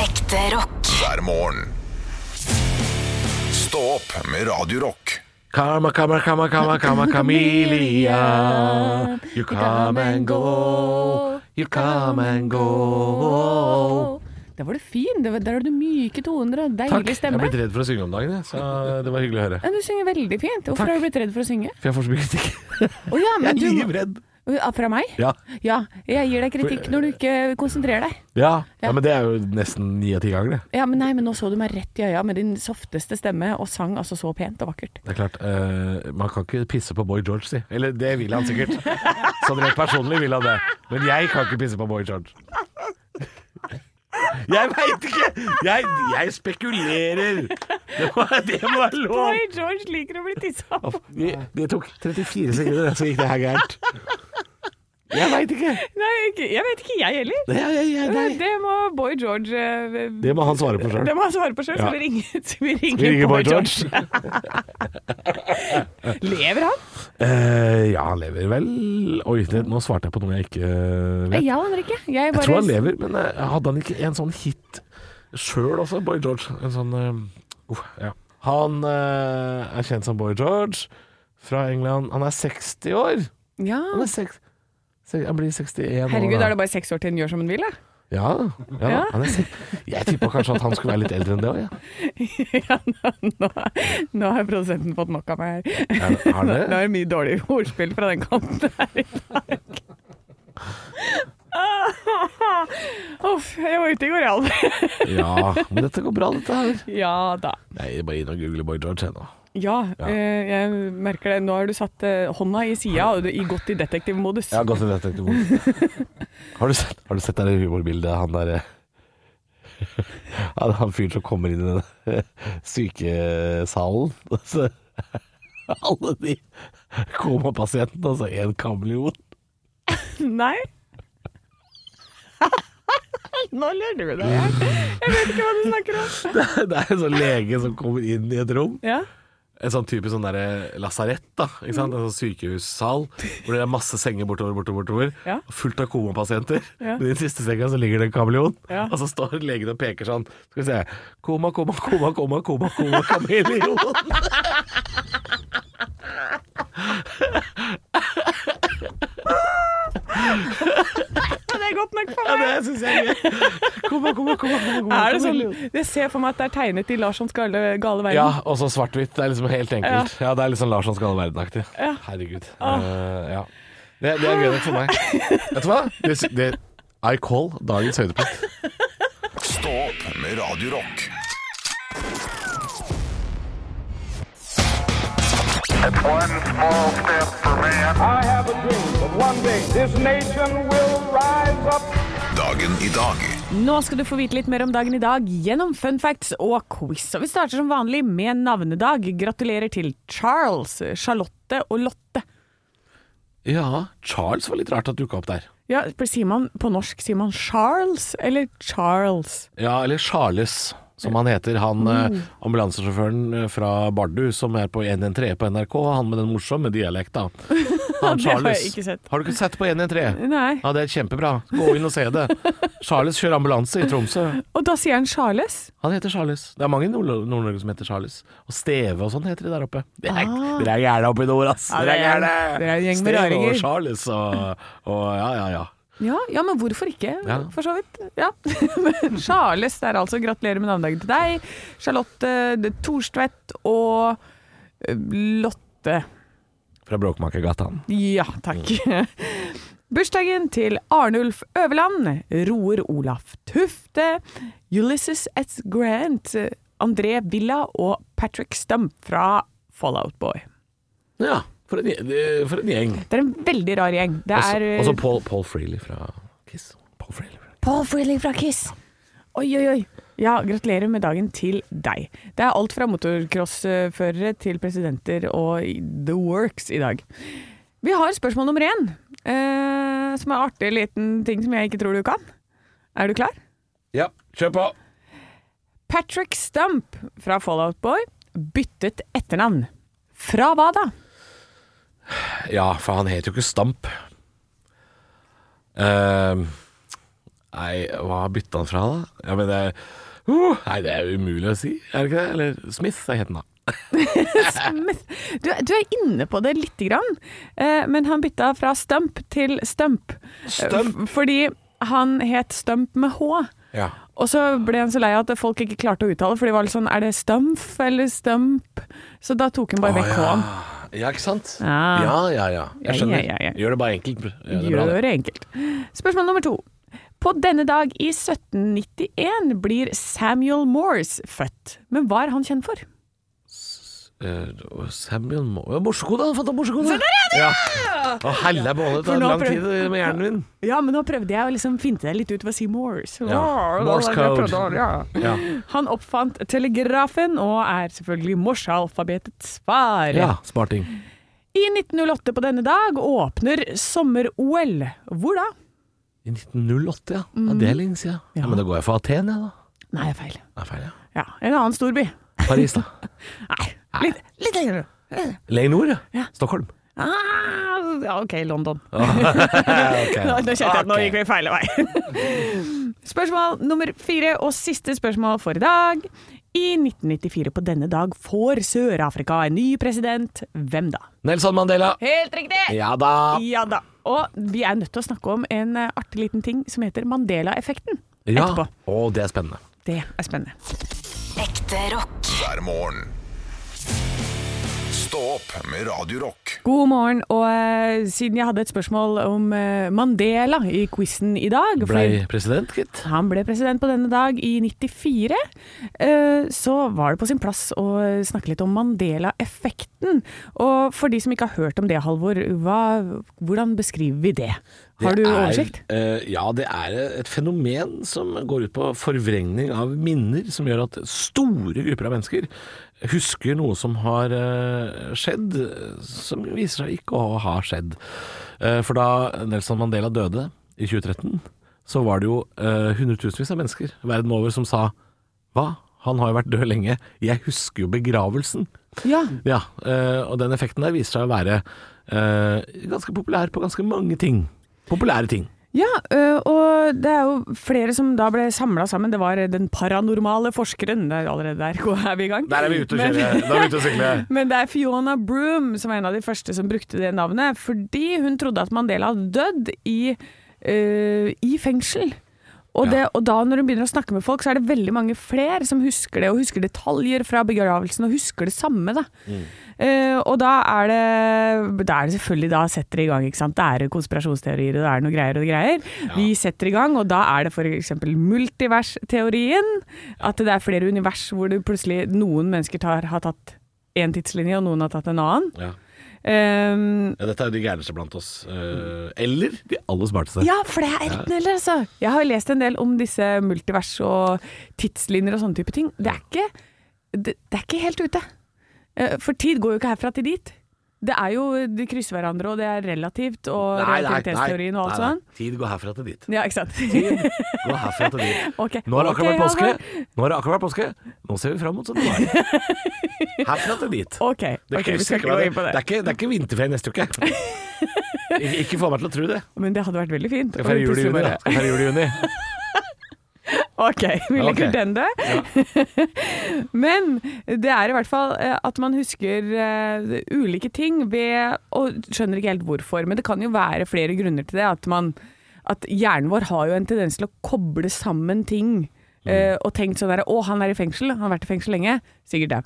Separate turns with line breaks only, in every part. Ekte rock.
hver morgen. Stå opp med Radio Rock.
Karma, karma, karma, karma, karma, camellia. You come and go, you come and go.
Der var du fin. Det var, der har du myke toner og
Takk.
deilig
Jeg er
stemme.
blitt redd for å synge om dagen, jeg, så det var hyggelig å høre.
Ja, du synger veldig fint. Hvorfor
Takk.
har du blitt redd for å synge?
For jeg får så mye kritikk.
Å ja, men
Jeg
du
er
må-
livredd.
Ja, Fra meg?
Ja.
Ja, jeg gir deg kritikk når du ikke konsentrerer deg.
Ja.
Ja.
ja, men det er jo nesten ni av ti ganger, det.
Ja, men nei, men nå så du meg rett i øya med din softeste stemme og sang altså så pent og vakkert.
Det er klart, eh, Man kan ikke pisse på Boy George, si. Eller det vil han sikkert. Sånn rett personlig vil han det. Men jeg kan ikke pisse på Boy George. Jeg veit ikke! Jeg, jeg spekulerer! Det må, det må være lov!
Oi, George liker å bli tissa på.
Det, det tok 34 sekunder, så gikk det her gærent. Jeg veit ikke.
Nei, ikke, jeg vet ikke jeg heller.
Det, jeg, jeg, nei.
Det må Boy George eh,
det må han svare på sjøl.
Det må han svare på sjøl, så
Ja.
vi ringer, så vi ringer,
Vi ringer Boy George.
Lever han?
Eh, ja, han lever vel Oi, det, nå svarte jeg på noe jeg ikke eh, vet.
Jeg aner ikke. Jeg
Jeg
bare
tror han lever, men eh, hadde han ikke en sånn hit sjøl også, Boy George? En sånn eh, uff, ja. Han eh, er kjent som Boy George fra England. Han er 60 år!
Ja.
Han, er seks, se- han blir 61
Herregud,
år.
er det bare seks år til han gjør som han vil, da?
Ja, ja,
Ja.
Han er sek- Jeg tippa kanskje at han skulle være litt eldre enn det òg, ja.
Ja, nå, nå har produsenten fått nok av meg her.
Er, er
Nå
det?
er det mye dårlig ordspill fra den kanten her i dag. Uff, jeg var ute i går, jeg. Alf.
Ja, men dette går bra, dette her.
Ja da.
Nei, bare inn og google Boy George jeg, nå.
Ja, eh, jeg merker det. Nå har du satt eh, hånda i sida og du i godt i detektivmodus.
Jeg har gått til detektivmodus. Har du sett, har du sett det der humorbildet han der eh, Han, han fyren som kommer inn i den eh, sykesalen. og så- Alle de komapasientene, altså én kameleon.
Nei? Nå lurer du deg her. Jeg vet ikke hva du snakker om.
Det er det er en sånn lege som kommer inn i et rom.
Ja.
En sånn type sånn derre lasarett, da. Ikke sant? En sånn sykehussal hvor det er masse senger bortover, bortover, bortover.
Ja.
Fullt av komapasienter.
Ja.
Men i den siste senga så ligger det en kameleon.
Ja.
Og så står legen og peker sånn. Skal vi se. Koma, koma, koma, koma, koma, koma, kameleon.
Det er godt nok for
Ja,
meg.
det syns jeg er gøy. Koma, koma, koma, koma, koma,
Er det sånn?
kameleon.
Jeg ser for meg at det er tegnet i Larssons gale, gale verden.
Ja, og så svart-hvitt. Det er liksom helt enkelt. Ja, det er litt sånn Larsson skal ha verden-aktig. Herregud. Eh, ja. Det, det er gøy nok for meg. Vet du hva? Det, det, I call dagens høydepunkt.
Stå opp med Radio Rock.
One small step for man.
I have a dream that one day this nation will rise up.
Dagen i dag
Nå skal du få vite litt mer om dagen i dag gjennom fun facts og quiz. Og vi starter som vanlig med navnedag. Gratulerer til Charles, Charlotte og Lotte.
Ja, Charles var litt rart at dukka opp der.
Ja, sier man på norsk sier man Charles eller Charles?
Ja, eller Charles, som han heter. Han
Mm.
eh, ambulansesjåføren eh, fra Bardu som er på 113 på NRK. Han med den morsomme dialekta. Han
Det har jeg
Charles.
ikke sett.
Har du ikke sett på 113?
Nei.
Ja, det er kjempebra. Gå inn og se det. Charles kjører ambulanse i Tromsø.
Og da sier han Charles.
Han heter Charles. Det er mange i Nord- Nord-Norge som heter Charles. Og Steve og sånn heter de der oppe. Dere er, dere er gærne oppe i nord, ass.
Ah. Ja,
Dere er
dere
gærne.
er- dere er en gjeng med
Steve
raringer.
og Charles og, og ja, ja, ja.
Ja, ja, men hvorfor ikke,
Ja.
for så vidt. Ja. Men Charles der altså. Gratulerer med navnedagen til deg. Charlotte de Thorstvedt og eh, Lotte.
Fra Bråkmakergata.
Ja, takk. Bursdagen til Arnulf Øverland, Roer Olaf Tufte, Ulysses S. Grant, André Villa og Patrick Stump fra Fallout Boy.
Ja, for en, gje- for en gjeng.
Det er en veldig rar gjeng. Det
Også-
er eh,
Også Paul, Paul Freely fra Kiss. Paul Freely. fra Kiss.
Paul Freely fra Kiss. Oi, oi, oi. Ja, gratulerer med dagen til deg. Det er alt fra motocrossførere til presidenter og i- the works i dag. Vi har spørsmål nummer én, eh, som er en artig liten ting som jeg ikke tror du kan. Er du klar?
Ja, kjør på!
Patrick Stump fra Fallout Boy byttet etternavn. Fra hva da?
Ja, for han heter jo ikke Stamp. Ehm, nei, hva bytta han fra, da? Ja, men det Uh, nei, det er jo umulig å si, er det ikke det? Eller Smith, er heten da.
Smith. Du, du er inne på det lite grann, eh, men han bytta fra Stump til Stump.
Stump?
Eh, f- Fordi han het Stump med H.
Ja.
Og så ble han så lei at folk ikke klarte å uttale, for de var litt sånn Er det Stumf eller Stump? Så da tok han bare vekk H-en.
Ja, ikke sant?
Ja.
ja, ja. ja.
Ja,
Jeg skjønner.
ja, ja, ja.
Gjør det bare enkelt. Ja, det er bra,
Gjør
det.
det enkelt. Spørsmål nummer to. På denne dag i 1791 blir Samuel Morse født. Men hva er han kjent for?
Eh, Samuel Mo... Ja, Morsekode! Han fant opp morsekode! Ja. Å, helle måned, det
For
er
nå
lang
prøv-
tid med hjernen min.
Ja, men nå prøvde jeg å liksom finte deg litt ut ved å si Morse.
Ja, Morse
det var det jeg
code.
prøvde å- ja.
Ja.
Han oppfant telegrafen og er selvfølgelig Morse-alfabetets far.
ja, smarting.
I 1908 på denne dag åpner sommer-OL. Hvor da?
I 1908, ja. ja det er lenge siden. Ja.
Ja.
men da går jeg for Aten, jeg, da.
Nei, feil.
Nei, feil, ja.
Ja, en annen storby.
Paris, da.
Nei, litt, litt lenger.
Lenger nord, ja. Stockholm.
Ah, ja, ok, London.
Eh, Ok.
Nå, nå kjente jeg at nå
Ok.
gikk vi feil vei. Spørsmål nummer fire og siste spørsmål for i dag. I 1994 på denne dag får Sør-Afrika en ny president. Hvem da?
Nelson Mandela.
Helt riktig!
Ja da.
Ja da. Og vi er nødt til å snakke om en eh, artig liten ting som heter Mandela-effekten
Ja.
etterpå.
Å, det er spennende.
Det er spennende.
Ekte rock.
hver morgen. Stå opp med Radio Rock.
God morgen. Og eh, siden jeg hadde et spørsmål om eh, Mandela i quizen i dag fordi
Blei president, gitt.
han ble president på denne dag i 94. eh, Så var det på sin plass å snakke litt om Mandela-effekten. Og for de som ikke har hørt om det, Halvor, hva, hvordan beskriver vi det? Har
Det
du
er,
oversikt?
eh, ja, det er et fenomen som går ut på forvrengning av minner, som gjør at store grupper av mennesker husker noe som har eh, skjedd, eh, som viser seg ikke å ha skjedd. Eh, for da Nelson Mandela døde i 2013, så var det jo eh, hundretusenvis av mennesker verden over som sa hva? Han har jo vært død lenge. Jeg husker jo begravelsen.
Ja.
Ja, eh, og den effekten der viser seg å være eh, ganske populær på ganske mange ting. Populære ting.
Ja, ø, og det er jo flere som da ble samla sammen. Det var den paranormale forskeren. Det er allerede der går- er vi i gang. Men,
Da begynte vi å sykle.
men det er Fiona Broom som er en av de første som brukte det navnet, fordi hun trodde at Mandela hadde dødd i, ø, i fengsel. Og,
Ja.
det, og da når hun begynner å snakke med folk, så er det veldig mange flere som husker det, og husker detaljer fra begravelsen, og husker det samme. da. Eh, og da er det Da er det selvfølgelig da setter det i gang, ikke sant. Det er konspirasjonsteorier og det er noe greier og greier. Vi setter i gang, og da er det f.eks. multiversteorien. At det er flere univers hvor det plutselig noen mennesker tar, har tatt én tidslinje, og noen har tatt en annen.
Ja.
Eh,
ja, dette er de gærneste blant oss. Eh, eller de aller smarteste.
ja, for det er enten eller, altså. Jeg har lest en del om disse multivers og tidslinjer og sånne type ting. Det er ikke, det, det er ikke helt ute. Eh, For tid går jo ikke herfra til dit. Det er jo, De krysser hverandre, og det er relativt, og relativitetsteorien og alt sånn.
Tid går herfra til dit.
Ja, ikke sant?
Tid går herfra til dit.
Ok.
Nå har det akkurat
Ok,
vært påske.
Halvor.
Nå har det akkurat vært påske. Nå ser vi fram mot sommer. Herfra til dit.
Ok,
Det,
ok, vi
krysser hverandre.
skal ikke gå inn på
det
det.
er ikke, det er ikke vinterferie neste uke. Ikke, ikke få meg til å tro det.
Men det hadde vært veldig fint.
Skal feire
Og
jul i
plutselig
juni, da.
bare-
Skal feire jul i juni.
Ok, vi legger
Ok.
den død. Men det er i hvert fall eh, at man husker eh, ulike ting ved Og skjønner ikke helt hvorfor, men det kan jo være flere grunner til det. At, man, at hjernen vår har jo en tendens til å koble sammen ting.
Mm.
eh, og tenkt sånn der Å, han er i fengsel. Han har vært i fengsel lenge. Sikkert dau.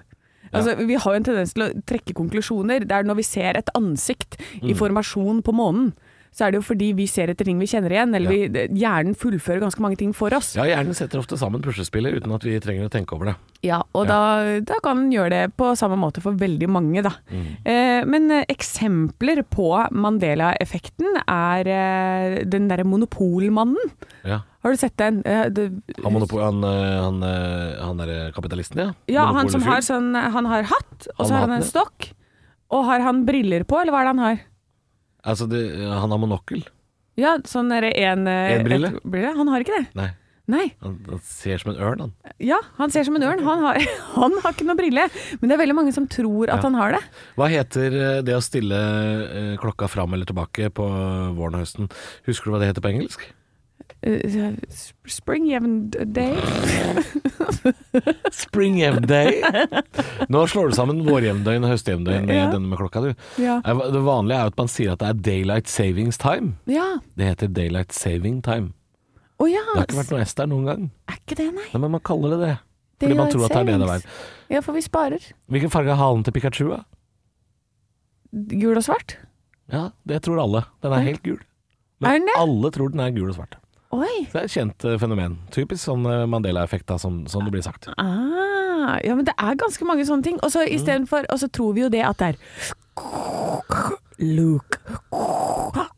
Altså, Vi har jo en tendens til å trekke konklusjoner. Det er når vi ser et ansikt
Mm.
i formasjon på månen, så er det jo fordi vi ser etter ting vi kjenner igjen.
Ja.
Eller vi, hjernen fullfører ganske mange ting for oss.
Ja, hjernen setter ofte sammen puslespillet uten at vi trenger å tenke over det.
Ja, og Da, da kan den gjøre det på samme måte for veldig mange, da.
Mm.
Eh, men eh, eksempler på Mandela-effekten er eh, den derre monopolmannen.
Ja.
Har du sett den? Eh, det,
Han, monopo- han, eh, han, eh, han er kapitalisten, ja?
ja, han som har
Monopolfyr.
sånn Han har hatt, og
Han
så har han
hatten,
en
ja.
stokk. Og har han briller på, eller hva er det han har?
Altså, det, han har monokkel.
Ja, sånn derre én
En brille?
Han har ikke det.
Nei,
Nei.
han, han ser som en ørn, han.
Ja, han ser som en ørn. Han har, han har ikke noe brille. Men det er veldig mange som tror at
Ja.
han har det.
Hva heter eh, det å stille eh, klokka fram eller tilbake på våren og høsten? Husker du hva det heter på engelsk?
eh, s- Spring Even Day.
Spring Day. Nå slår du sammen vårjevndøgn og høstjevndøgn i
Ja.
denne med klokka, du.
Ja.
Eh, hva- Det vanlige er jo at man sier at det er daylight savings time.
ja.
Det heter daylight saving time.
Å ja.
Det har ikke vært noe S der noen gang.
Er ikke det, nei?
Nei, men man kaller det det. Fordi man
Daylight
tror at det er det det
savings.
er.
Ja, for vi sparer.
Hvilken farge er halen til Pikachu? da?
Gul og svart.
Ja, det tror alle. Den er helt gul.
Er den det?
alle tror den er gul og svart.
Oi!
Det er et kjent eh, fenomen. Typisk sånn eh, Mandela-effekt, da, som, som det blir sagt.
Ah, ja, men det er ganske mange sånne ting. Og så
Mm.
istedenfor Og så tror vi jo det at det er Luke,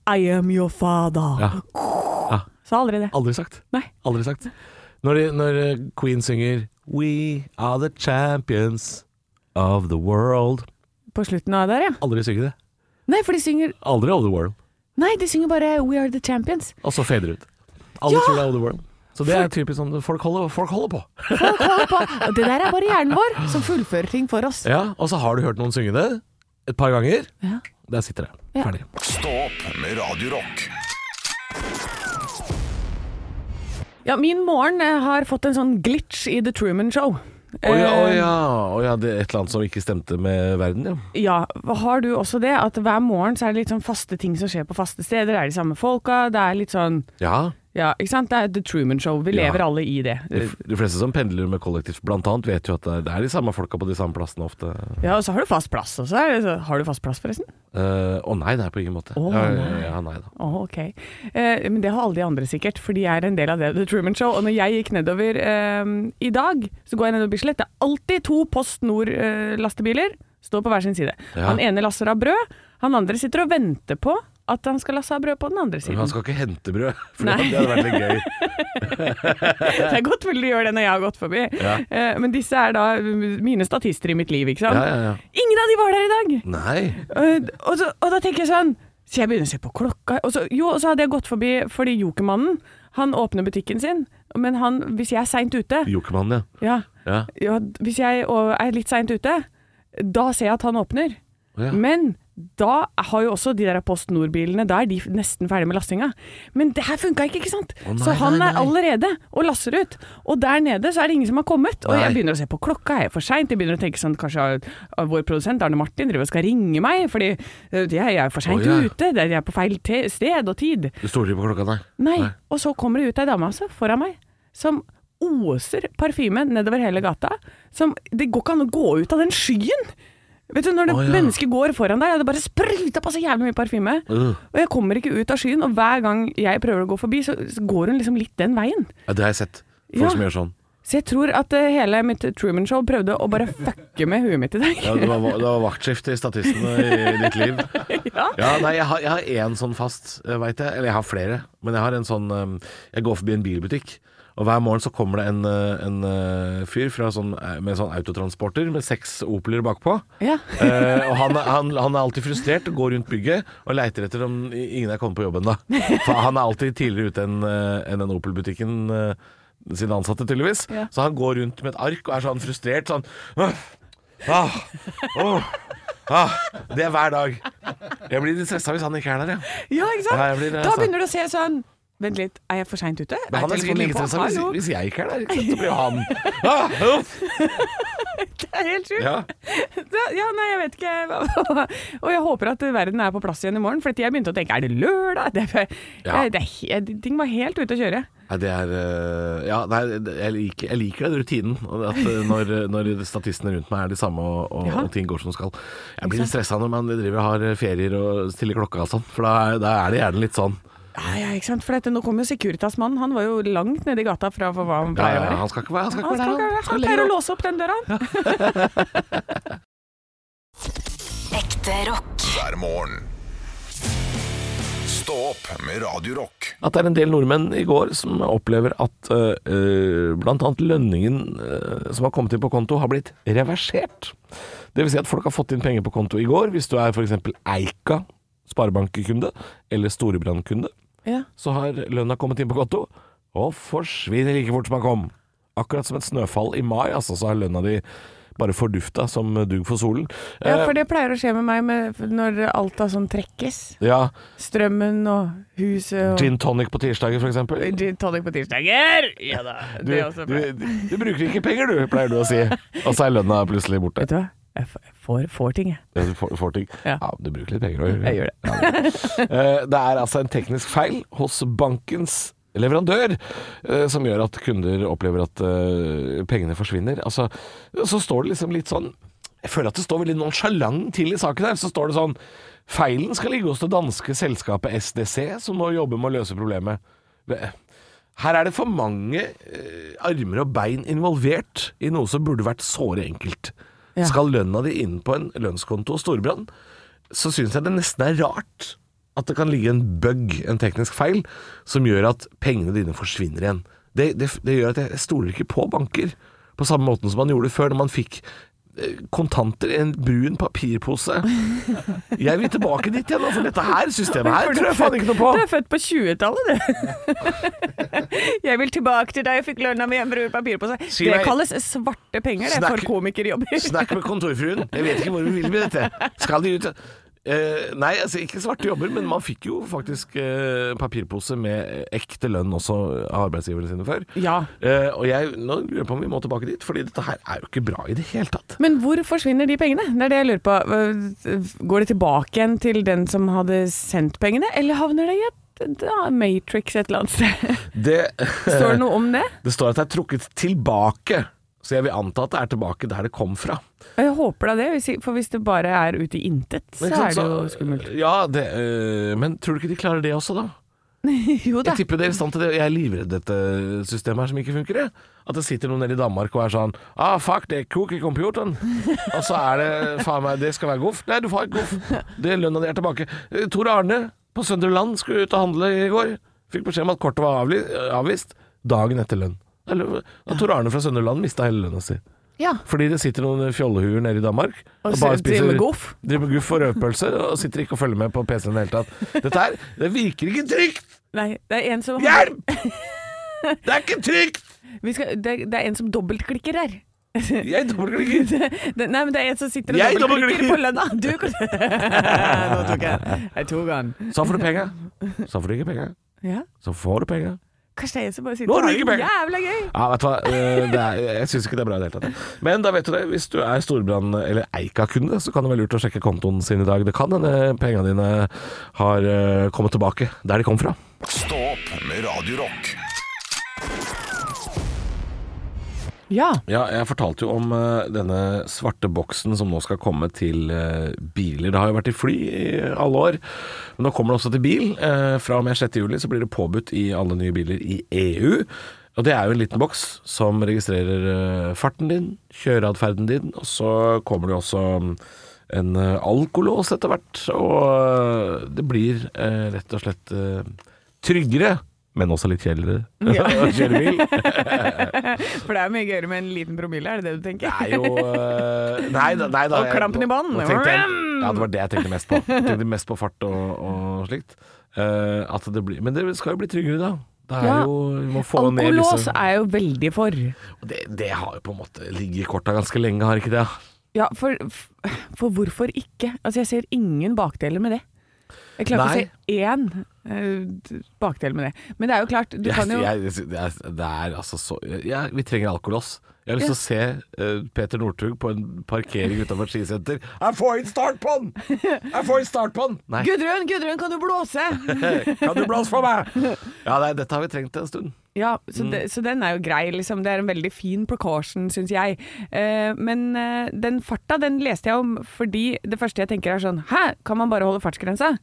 I am your father.
Ja. Ja.
Sa aldri det.
Aldri sagt.
Nei.
Aldri sagt. Når, de, når eh, Queen synger We are the champions of the world
På slutten av der, ja.
Aldri synger det.
Nei, for de synger
Aldri of the world.
Nei, de synger bare We are the champions.
Og så fader ut. Alle
Ja!
tror det er of the world. Så det er typisk sånn folk holder, folk holder på.
Folk holder på. Og det der er bare hjernen vår som fullfører ting for oss.
Ja, Og så har du hørt noen synge det et par ganger.
Ja.
Der sitter det.
Ja.
Ferdig.
Stå opp med Radio Rock.
Ja, min morgen eh, har fått en sånn glitch i The Truman Show.
Å ja, å
Eh,
ja. Å ja, det er et eller annet som ikke stemte med verden, ja.
Ja, har du også det? At hver morgen så er det litt sånn faste ting som skjer på faste steder. Det er de samme folka. Det er litt sånn
Ja.
Ja, ikke sant? Det er The Truman Show. Vi
Ja.
lever alle i det.
De, de fleste som pendler med kollektivt, blant annet, vet jo at det er- det er de samme folka på de samme plassene ofte.
Ja, og så har du fast plass. Og så er det så Har du fast plass, forresten?
Eh, Å nei, det er på ingen måte.
Å,
ja,
nei.
Ja, ja, nei da.
Å, ok. Eh, men det har alle de andre sikkert, for de er en del av det. The Truman Show. Og når jeg gikk nedover eh, i dag, så går jeg nedover Bislett. Det er alltid to Post Nord-lastebiler. står på hver sin side.
Ja.
Han ene lasser av brød, han andre sitter og venter på at han skal lasse av brød på den andre
Men
siden.
han skal ikke hente brød, for
Nei.
det hadde vært litt gøy.
Det er godt vel de gjør det når jeg har gått forbi.
Ja.
Eh, Men disse er da mine statister i mitt liv, ikke sant.
Ja, ja, ja.
Ingen av de var der i dag!
Nei.
Eh, Og, så, og da tenker jeg sånn Så jeg begynner å se på klokka. Og så, jo, og så hadde jeg gått forbi fordi Jokermannen han åpner butikken sin. Men han, hvis jeg er seint ute
Jokermannen, ja.
ja,
ja.
ja, Hvis jeg og- er litt seint ute, da ser jeg at han åpner.
Å, ja.
Men da har jo også de der Post Nord-bilene Da er de nesten ferdig med lastinga. Men det her funka ikke, ikke sant?
Å, nei,
så han
nei,
er
nei.
allerede og lasser ut. Og der nede så er det ingen som har kommet. Og
Nei.
jeg begynner å se på klokka, er jeg for seint? Jeg begynner å tenke sånn kanskje ah, vår produsent Arne Martin driver og skal ringe meg, fordi eh, jeg er for
Å,
seint
ja.
ute. Jeg er på feil te sted og tid.
Du stoler ikke på klokka, nei?
Nei. Og så kommer det ut ei dame altså, foran meg som oser parfyme nedover hele gata. Som, det går ikke an å gå ut av den skyen! Vet du, Når det
Å, ja.
mennesket går foran deg, og det bare spruta på så jævlig mye parfyme.
Øh.
Og jeg kommer ikke ut av skyen, og hver gang jeg prøver å gå forbi, så så går hun liksom litt den veien.
Ja, det har jeg sett. Folk
Ja.
som gjør sånn.
Så jeg tror at eh, hele mitt Truman-show prøvde å bare fucke med huet mitt i dag.
Ja, det, var, det var vaktskift i statistene i ditt liv.
Ja.
Ja, nei, jeg har, jeg har én sånn fast, eh, vet jeg. Eller jeg har flere. Men jeg har en sånn eh, Jeg går forbi en bilbutikk, og hver morgen så kommer det en, eh, en eh, fyr fra sånn, eh, med sånn autotransporter med seks Opeler bakpå.
Ja.
Eh, og han, er- han, han er alltid frustrert og går rundt bygget og leiter etter om i- ingen er kommet på jobben da. For han er alltid tidligere ute enn eh, enn den Opel-butikken eh, sine ansatte, tydeligvis.
Ja.
Så han går rundt med et ark og er sånn frustrert sånn «Åh, ah, åh, ah. Det er hver dag. Jeg blir litt stressa hvis han ikke er der, ja.
Ja, ikke sant?
Ja, jeg blir det,
da
altså.
begynner du å se sånn Vent litt, er jeg for seint ute?
Men han er sikkert
telefonen
like
på?
stressa hvis,
Hallo?
hvis jeg ikke er der. Ikke sant? Så blir han ah, uff.
Det er helt sjukt.
ja.
Ja, ja, nei, jeg vet ikke hva- Og jeg håper at verden er på plass igjen i morgen, for jeg begynte å tenke er det lørdag? Det, er- Eh,
Ja.
det, er he- ting var helt ute å kjøre.
Nei, det er eh, Ja, nei, jeg liker, jeg liker den rutinen. og At eh, når, når statistene rundt meg er de samme og, og,
Ja.
og ting går som skal. Jeg blir litt stressa når man driver og har eh, ferier og stiller klokka og sånn, for da er, da er det gjerne litt sånn
Ja, ja, ikke sant? For dette, nå kom jo Securitas-mannen, han var jo langt nede i gata fra for hva han
ja,
pleier å
ja,
være.
Han skal ikke være sånn. han skal ikke
Han, skal,
være der, han.
han
Skal
pleier å
lenger opp.
låse opp den døra. han.
Ekte rock.
hver morgen. Stå opp med Radio Rock.
At det er en del nordmenn i går som opplever at eh, eh, blant annet lønningen eh, som har kommet inn på konto, har blitt reversert. Det vil si at folk har fått inn penger på konto i går, hvis du er f.eks. Eika sparebankkunde eller Storebrand-kunde.
Ja.
så har lønna kommet inn på konto, og forsvinner like fort som den kom. Akkurat som et snøfall i mai, altså, så har lønna di bare fordufta som dug for solen.
Ja,
Eh,
for det pleier å skje med meg med, når alt av sånn trekkes.
Eh, ja,
Strømmen og huset og
Gin tonic på tirsdager, for eksempel.
Gin tonic på tirsdager! Ja da.
Du,
det er også
du,
bra.
du bruker ikke penger, du, pleier du å si. Og så er lønna plutselig borte.
Vet du hva? Jeg f- jeg får, får ting, jeg.
Ja, Du får, får ting.
Ja.
Ja. du bruker litt penger òg.
Jeg gjør det.
Eh, Det er altså en teknisk feil hos bankens leverandør eh, som gjør at kunder opplever at eh, pengene forsvinner. Altså, så står det liksom litt sånn Jeg føler at det står veldig nonsjalant til i saken her. Så står det sånn Feilen skal ligge hos det danske selskapet SDC, som nå jobber med å løse problemet. Her er det for mange eh, armer og bein involvert i noe som burde vært såre enkelt.
Ja.
Skal lønna di inn på en lønnskonto hos Storbrann, så syns jeg det nesten er rart at det kan ligge en bug, en teknisk feil, som gjør at pengene dine forsvinner igjen. Det, det, det gjør at jeg stoler ikke på banker på samme måten som man gjorde før, når man fikk eh, kontanter i en brun papirpose. Jeg vil tilbake dit igjen, nå, for dette her systemet her tror jeg faen ikke noe på.
Du er født på 20-tallet, du. jeg vil tilbake til da jeg fikk lønna mi, jeg bruker papir på seg.
Si
det
meg-
kalles svarte penger, det,
Snakk-
for komikerjobber.
Snakk med kontorfruen. Jeg vet ikke hvor vi vil med dette. Skal de ut Eh, Nei, altså ikke svarte jobber, men man fikk jo faktisk eh, papirpose med eh, ekte lønn også av arbeidsgiverne sine før.
Ja.
Eh, og jeg nå lurer jeg på om vi må tilbake dit, fordi dette her er jo ikke bra i det hele tatt.
Men hvor forsvinner de pengene? Det er det jeg lurer på. Hva- Går det tilbake igjen til den som hadde sendt pengene, eller havner det i et da, Matrix et eller annet sted?
Det,
Står det noe om det?
det står at det er trukket tilbake, så jeg vil anta at det er tilbake der det kom fra.
Jeg håper da det, hvis- for hvis det bare er ute i intet, så
Men ikke
er det
sant,
jo
så-
skummelt.
Ja, det, eh, men tror du ikke de klarer det også, da?
Jo da.
Jeg tipper det er i stand til det. Jeg er livredd dette systemet her som ikke funker. jeg. At det sitter noen nede i Danmark og er sånn Ah, fuck, det er kok i computeren. Og så er det faen meg, det skal være goff. Nei, du får ikke goff. Det er lønna di er tilbake. Eh, Tor Arne på Søndre Land skulle ut og handle i går. Fikk beskjed om at kortet var avli- avvist dagen etter lønn. Eller, da Tor Arne fra Søndre Land mista hele lønna si.
Ja.
Fordi det sitter noen fjollehuer nede i Danmark
Og driver med goff.
driver med goff og rødpølse og sitter ikke og følger med på PC-en i det hele tatt. Dette her, det virker ikke trygt!
Nei, det er en som
Hjelp! Det er ikke trygt!
Vi skal, det, det er en som dobbeltklikker her.
Jeg dobbeltklikker.
Det, det, nei, men det er en som sitter og
Jeg dobbeltklikker.
dobbeltklikker på lønna. Du Nå tok jeg Jeg tok han.
Så får du penga. Så får du ikke penga.
Ja.
Så får du penga.
Kanskje det er en som bare sitter
Nå har du
og
ikke
har det
penger.
jævla gøy.
Ja, vet du hva. Eh, Det er, jeg syns ikke det er bra i det hele tatt. Men da vet du det. Hvis du er Storbrann- eller Eika-kunde, så kan det være lurt å sjekke kontoen sin i dag. Det kan hende penga dine har eh, kommet tilbake der de kom fra.
Stå opp med Radio Rock.
Ja.
Ja, jeg fortalte jo om eh, denne svarte boksen som nå skal komme til eh, biler. Det har jo vært i fly i alle år, men nå kommer det også til bil. Eh, fra og med 6. juli så blir det påbudt i alle nye biler i EU. Og det er jo en liten boks som registrerer eh, farten din, kjøreatferden din, og så kommer det jo også mm, en eh, alkolås etter hvert. Og eh, det blir eh, rett og slett eh, tryggere, men også litt kjedeligere å kjøre bil.
For det er mye gøyere med en liten promille, er det det du tenker?
Det er jo øh, Nei da. Nei, da
Og
jeg-
klampen i bånd.
nå tenkte jeg- Ja, det var det jeg tenkte mest på. Jeg tenkte mest på fart og, og slikt. Eh, at det blir, men det skal jo bli tryggere, da. Det er
Ja.
jo, vi må få ned
Alkolås
disse
er jeg jo veldig for.
Og det, det har jo på en måte ligget i korta ganske lenge, har ikke det?
Ja, for, for hvorfor ikke? Altså, jeg ser ingen bakdeler med det. Jeg klarer
Nei.
ikke å se én eh, bakdel med det. Men det er jo klart, du
Jeg,
kan jo
jeg, det, er, det er altså så ja, Vi trenger alkolås. Jeg har lyst til å se eh, Peter Northug på en parkering utenfor et skisenter. Jeg får ikke start på den! Jeg får ikke start på den! Nei,
Gudrun, Gudrun, kan du blåse?
kan du blåse for meg? Ja, nei, dette har vi trengt en stund.
Ja, så, det, så den er jo grei, liksom. Det er en veldig fin precaution, syns jeg. Eh, men eh, den farta, den leste jeg om fordi det første jeg tenker er sånn Hæ, kan man bare holde fartsgrensa?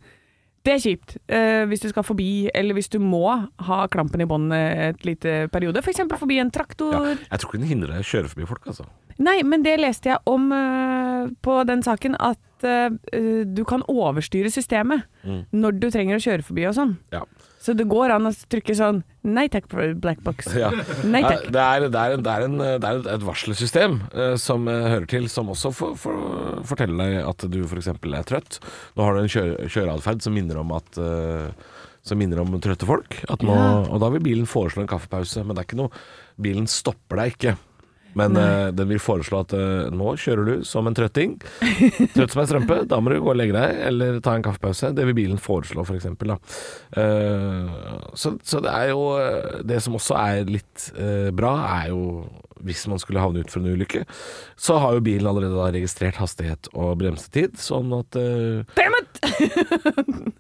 Det er kjipt eh, hvis du skal forbi, eller hvis du må ha klampen i båndet et lite periode. F.eks. forbi en traktor.
Ja, jeg tror ikke den hindrer deg å kjøre forbi folk, altså.
Nei, men det leste jeg om eh, på den saken, at eh, du kan overstyre systemet når du trenger å kjøre forbi og sånn.
Ja.
Så det går an å trykke sånn Nei takk, black box. Nei takk.
Eh, Det er, det er, en- det er, en, eh, det er et varselsystem eh, som eh, hører til, som også for, for, forteller deg at du f.eks. er trøtt. Nå har du en kjøre, kjøreatferd som minner om at eh, som minner om trøtte folk. At nå, Og da vil bilen foreslå en kaffepause, men det er ikke noe Bilen stopper deg ikke. Men eh, den vil foreslå at eh, nå kjører du som en trøtting. Trøtt som ei strømpe, da må du gå og legge deg, eller ta en kaffepause. Det vil bilen foreslå, f.eks. da. Eh, så, så det er jo eh, Det som også er litt eh, bra, er jo hvis man skulle havne utfor en ulykke, så har jo bilen allerede da registrert hastighet og bremsetid, sånn at eh,
Damn it!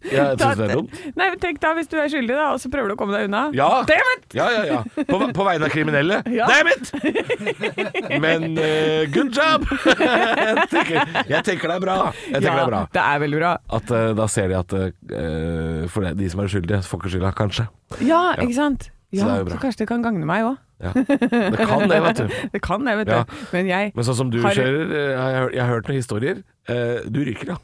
Jeg syns det er dumt.
Nei, men tenk da hvis du er skyldig, da, og så prøver du å komme deg unna.
Ja.
Damn it!
Ja, ja, ja. På, ve- på vegne av kriminelle.
Ja.
Damn it! Men eh, good job! jeg, tenker, jeg tenker det er bra. Jeg tenker det er bra.
Ja, det er veldig bra.
At eh, da ser de at eh, For det, de som er uskyldige, får ikke skylda, kanskje.
Ja, ikke sant?
Så
Ja,
det er
så,
jo bra.
kanskje det kan gagne meg òg.
Ja. Det kan det, vet du.
Det kan det, vet du.
Ja.
Men jeg
Men sånn som du
Har-
kjører, eh, jeg, har- jeg har hørt noen historier. Eh, du ryker, ja.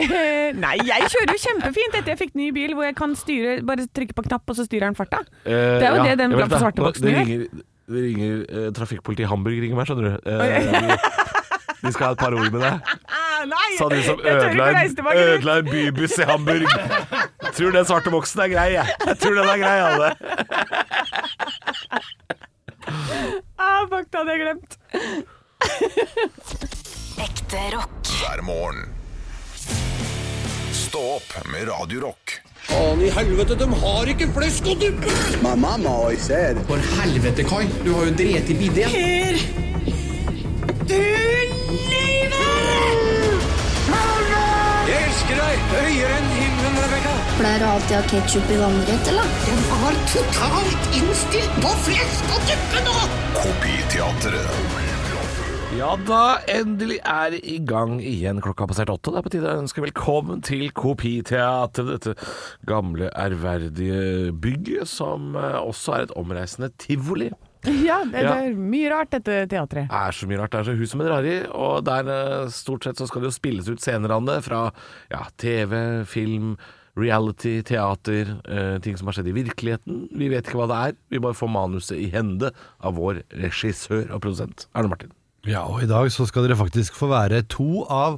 eh, Nei, jeg kjører jo kjempefint etter jeg fikk ny bil, hvor jeg kan styre Bare trykke på knapp, og så styrer den farta.
Eh,
Det er jo
ja,
det den
jeg vet
blaffe svarte
Nå-
boksen
det
gjør.
ringer, det ringer eh, trafikkpolitiet i Hamburg ringer meg, skjønner du. Eh, de, de skal ha et par ord med deg.
Ah, nei!
Sa du som
jeg tør ikke
ødela
reise
en,
tilbake dit.
ødela en bybuss i Hamburg. Tror den svarte boksen er grei, jeg. Jeg tror den er grei, alle.
Ah, fuck, det hadde jeg glemt.
Ekte rock.
hver morgen. Stå opp med Radio Rock.
Faen i helvete, de har ikke flesk og duppe!
My mama always said,
For helvete, Kai. Du har jo drept i bidé. Jeg elsker deg høyere enn himmelen, Rebekka.
Pleier du alltid å ha ketsjup i vannrett, eller?
Kopiteatret.
Ja da, endelig er det i gang igjen. Klokka har passert åtte. Det er på tide å ønske velkommen til Kopiteatret, dette gamle, ærverdige bygget som eh, også er et omreisende tivoli.
Ja, det,
Ja.
det er mye rart, dette teatret.
Det er så mye rart. Det er så hus som en rari, og der eh, stort sett så skal det jo spilles ut scener av det fra ja, TV, film, reality, teater, eh, ting som har skjedd i virkeligheten. Vi vet ikke hva det er. Vi bare får manuset i hende av vår regissør og produsent, Arne Martin.
Ja, og i dag så skal dere faktisk få være to av,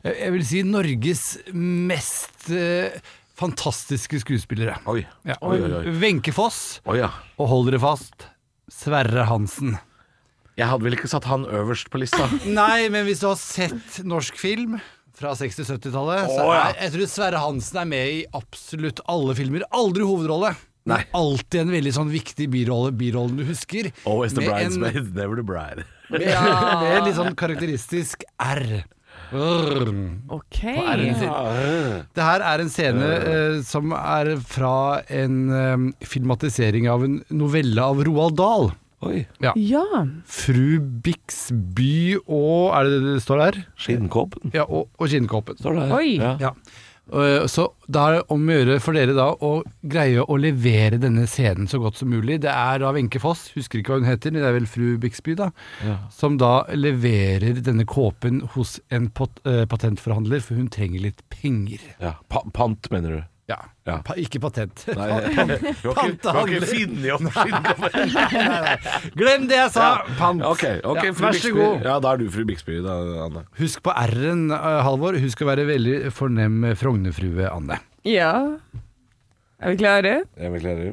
eh, jeg vil si, Norges mest eh, fantastiske skuespillere.
Oi.
Ja.
Oi, oi, oi.
Wenche Foss,
Å ja.
og hold dere fast, Sverre Hansen.
Jeg hadde vel ikke satt han øverst på lista.
Nei, men hvis du har sett norsk film fra 60-70-tallet, så
Å, ja.
er, jeg tror Sverre Hansen er med i absolutt alle filmer. Aldri hovedrolle. men
Nei.
Alltid en veldig sånn viktig birolle, birollen du husker.
Always the
Med en-
bridesmaid, never the bride.
Med, med en litt sånn karakteristisk R. Rrrr.
Ok.
Det her er en scene eh, som er fra en eh, filmatisering av en novelle av Roald Dahl.
Oi.
Ja.
Fru Bixby og Er det det det står der?
Skinnkåpen
Ja, og, og Kinnkåpen.
står det her.
Oi.
Ja.
Ja. Eh, Så det er om å gjøre for dere da å greie å levere denne scenen så godt som mulig. Det er da Wenche Foss, husker ikke hva hun heter, det er vel fru Bixby, da, som da leverer denne kåpen hos en pot eh, patentforhandler, for hun trenger litt penger.
Ja. Pa pant, mener du?
Ja.
Ja.
Pa ikke patent.
Nei, du har ikke, du har ikke
Pantehandler.
funnet opp skinnkåpen?
Glem det jeg sa! Pant.
Ok, ok,
Ja,
fru
vær så
Bixby.
god.
Ja, da er du fru Bixby, da, Anne.
Husk på R-en, eh, Halvor. Husk å være veldig fornem Frognerfrue, Anne.
ja. Er vi klare?
Jeg beklager.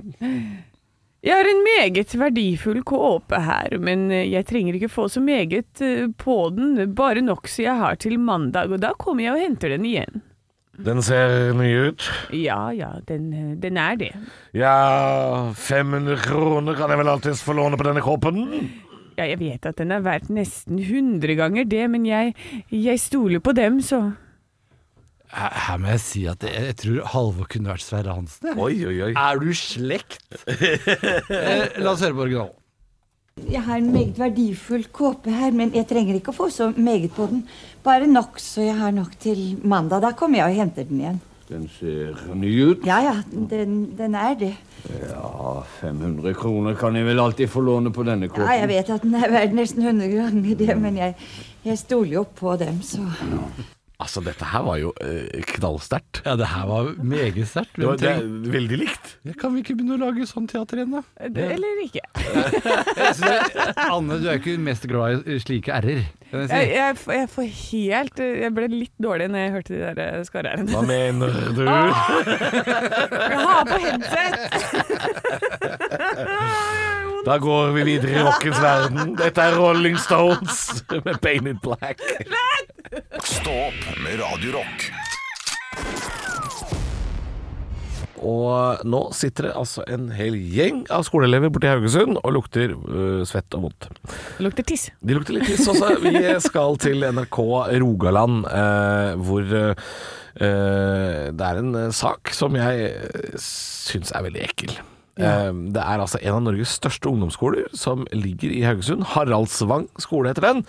Jeg har en meget verdifull kåpe her, men eh, jeg trenger ikke få så meget eh, på den, bare nok så jeg har til mandag, og da kommer jeg og henter den igjen.
Den ser ny ut.
Ja, ja, den, eh, den er det.
Ja, 500 kroner kan jeg vel alltids få låne på denne kåpen?
Ja, jeg vet at den er verdt nesten hundre ganger det, men jeg, jeg stoler på dem, så
Her her må jeg si at jeg, jeg tror Halvor kunne vært Sverre Hansen. jeg.
Oi, oi, oi.
Er du slekt? eh, la oss høre på originalen.
Jeg har en meget verdifull kåpe her, men jeg trenger ikke å få så meget på den. Bare nok, så jeg har nok til mandag. Da kommer jeg og henter den igjen.
Den ser ny ut.
Ja, ja, den, den er det.
Ja, 500 kroner kan jeg vel alltid få låne på denne
Ja,
kåpen.
jeg vet at den er verdt nesten 100 ganger det, men jeg, jeg stoler jo på dem, så
Altså, dette her var jo eh, knallsterkt.
Ja, det her var meget sterkt.
Det var det er veldig likt.
Kan vi ikke begynne å lage sånn teater igjen, da?
eh, Eller ikke.
Så det- Anne, du er ikke mest glad i slike r-er. kan jeg si.
Jeg, jeg, f- jeg får helt eh, Jeg ble litt dårlig når jeg hørte de der eh, skarre-r-ene.
Hva mener du?
Ah,
Jeg har på headset!
Da går vi videre i rockens verden. Dette er Rolling Stones med Pain in Black.
Stå opp med Radio Rock.
Og nå sitter det altså en hel gjeng av skoleelever borti Haugesund og lukter øh, svett og vondt.
Det lukter tiss.
De lukter litt tiss også. Vi skal til NRK Rogaland, eh, hvor eh, det er en eh, sak som jeg eh, syns er veldig ekkel. Eh, Det er altså en av Norges største ungdomsskoler som ligger i Haugesund. Haraldsvang skole heter den.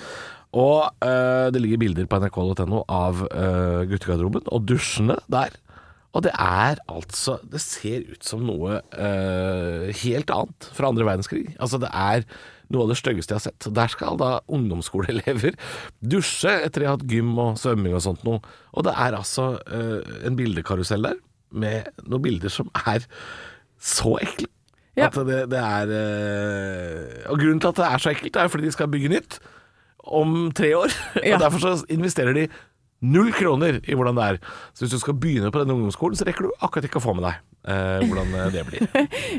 Og eh, det ligger bilder på nrk.no av eh, guttegarderoben og dusjene der. Og det er altså Det ser ut som noe eh, helt annet fra andre verdenskrig. Altså det er noe av det styggeste jeg har sett. Der skal da ungdomsskoleelever dusje etter de har hatt gym og svømming og sånt noe. Og det er altså eh, en bildekarusell der med noen bilder som er så ekle.
Ja.
At det, det er eh, Og grunnen til at det er så ekkelt, er fordi de skal bygge nytt om tre år.
Ja.
Og derfor så investerer de null kroner i hvordan det er. Så hvis du skal begynne på denne ungdomsskolen, så rekker du akkurat ikke å få med deg eh, hvordan eh, det blir.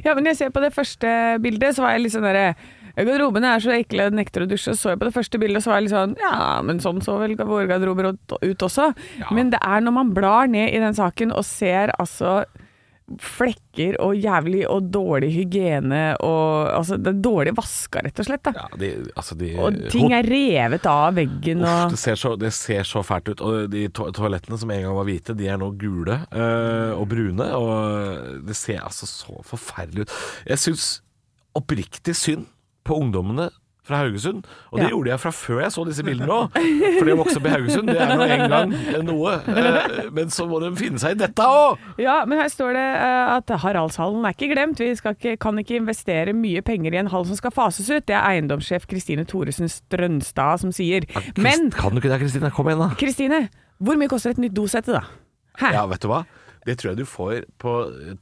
Ja, men jeg ser på det første bildet, så var jeg litt sånn derre Garderobene er så ekle, jeg nekter å dusje. Og så jeg på det første bildet, så var jeg litt sånn Ja, men sånn så vel våre garderober ut ut også. Men det er når man blar ned i den saken og ser altså flekker og jævlig og dårlig hygiene og Altså, det er dårlig vaska, rett og slett. da.
Ja, de, altså de,
Og ting er revet av veggen
Uff,
og
det, ser så, det ser så fælt ut. Og de to toalettene som en gang var hvite, de er nå gule eh, og brune. Og det ser altså så forferdelig ut. Jeg syns oppriktig synd på ungdommene fra Haugesund. Og det
Ja.
gjorde jeg fra før jeg så disse bildene òg. For det å vokse opp i Haugesund, det er nå en gang noe. Eh, men så må de finne seg i dette òg!
Ja, men her står det eh, at Haraldshallen er ikke glemt. Vi skal ikke, kan ikke investere mye penger i en hall som skal fases ut. Det er eiendomssjef Kristine Thoresen Strønstad som sier. Men
Kan du ikke det, Kristina? Kom igjen, da.
Kristine, hvor mye koster et nytt dosette, da? Hæ?
Ja, vet du hva? Det tror jeg du får på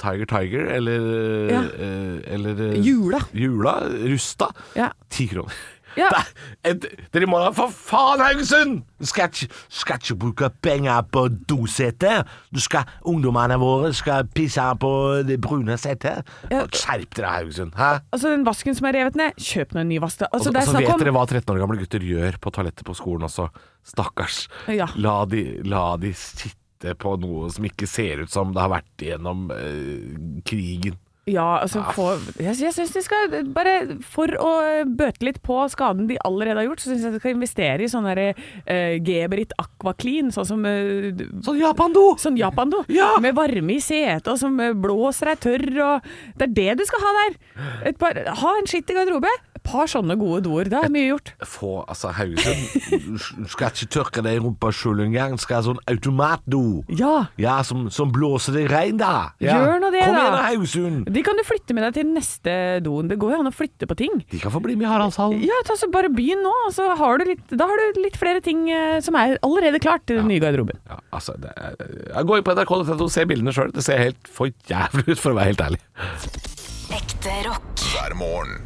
Tiger Tiger eller,
Ja.
eh, eller eh,
Jula.
Jula. Rusta.
Ja.
Ti kroner.
Ja.
Det er et, dere må da for faen, Haugesund! Du skal, ikke- skal ikke bruke penger på dosete. Du skal, ungdommene våre skal pisse på det brune setet.
Ja.
Skjerp dere, Haugesund. Hæ?
Altså, den vasken som er revet ned, kjøp nå en ny vask. da. Altså,
Og så-
det
og
er
så
snakk
vet
om
dere hva 13 år gamle gutter gjør på toalettet på skolen også. Stakkars.
Ja.
La, de, la de sitte på noe som ikke ser ut som det har vært gjennom eh, krigen.
Ja, altså
Ah.
få, Jeg, jeg syns de skal bare For å bøte litt på skaden de allerede har gjort, så syns jeg de skal investere i sånn derre eh, Geberit Aqua Clean, sånn som eh,
Sånn Japan-do!
Sånn Japan-do,
Ja!
med varme i setet og som eh, blåser deg tørr. Og det er det du skal ha der. Et par, ha en skitt i garderobe. Et par sånne gode doer. Da er mye gjort.
Få, altså, Haugesund du skal ikke tørke deg i rumpa sjøl engang. Du Skal ha sånn automatdo.
Ja!
Ja, som, som blåser det rein, da. Ja.
Gjør nå det,
Kom
da.
igjen, da, Haugesund!
De kan du flytte med deg til neste doen. Det går jo an å flytte på ting.
De kan få bli med i Haraldshallen.
Ja, ta så bare begynn nå, og så har du litt, da har du litt flere ting eh, som er allerede klart til den nye garderoben.
Ja, altså, det er, jeg går inn på nrk.no og ser bildene sjøl. Det ser helt for jævlig ut, for å være helt ærlig.
Ekte rock.
hver morgen.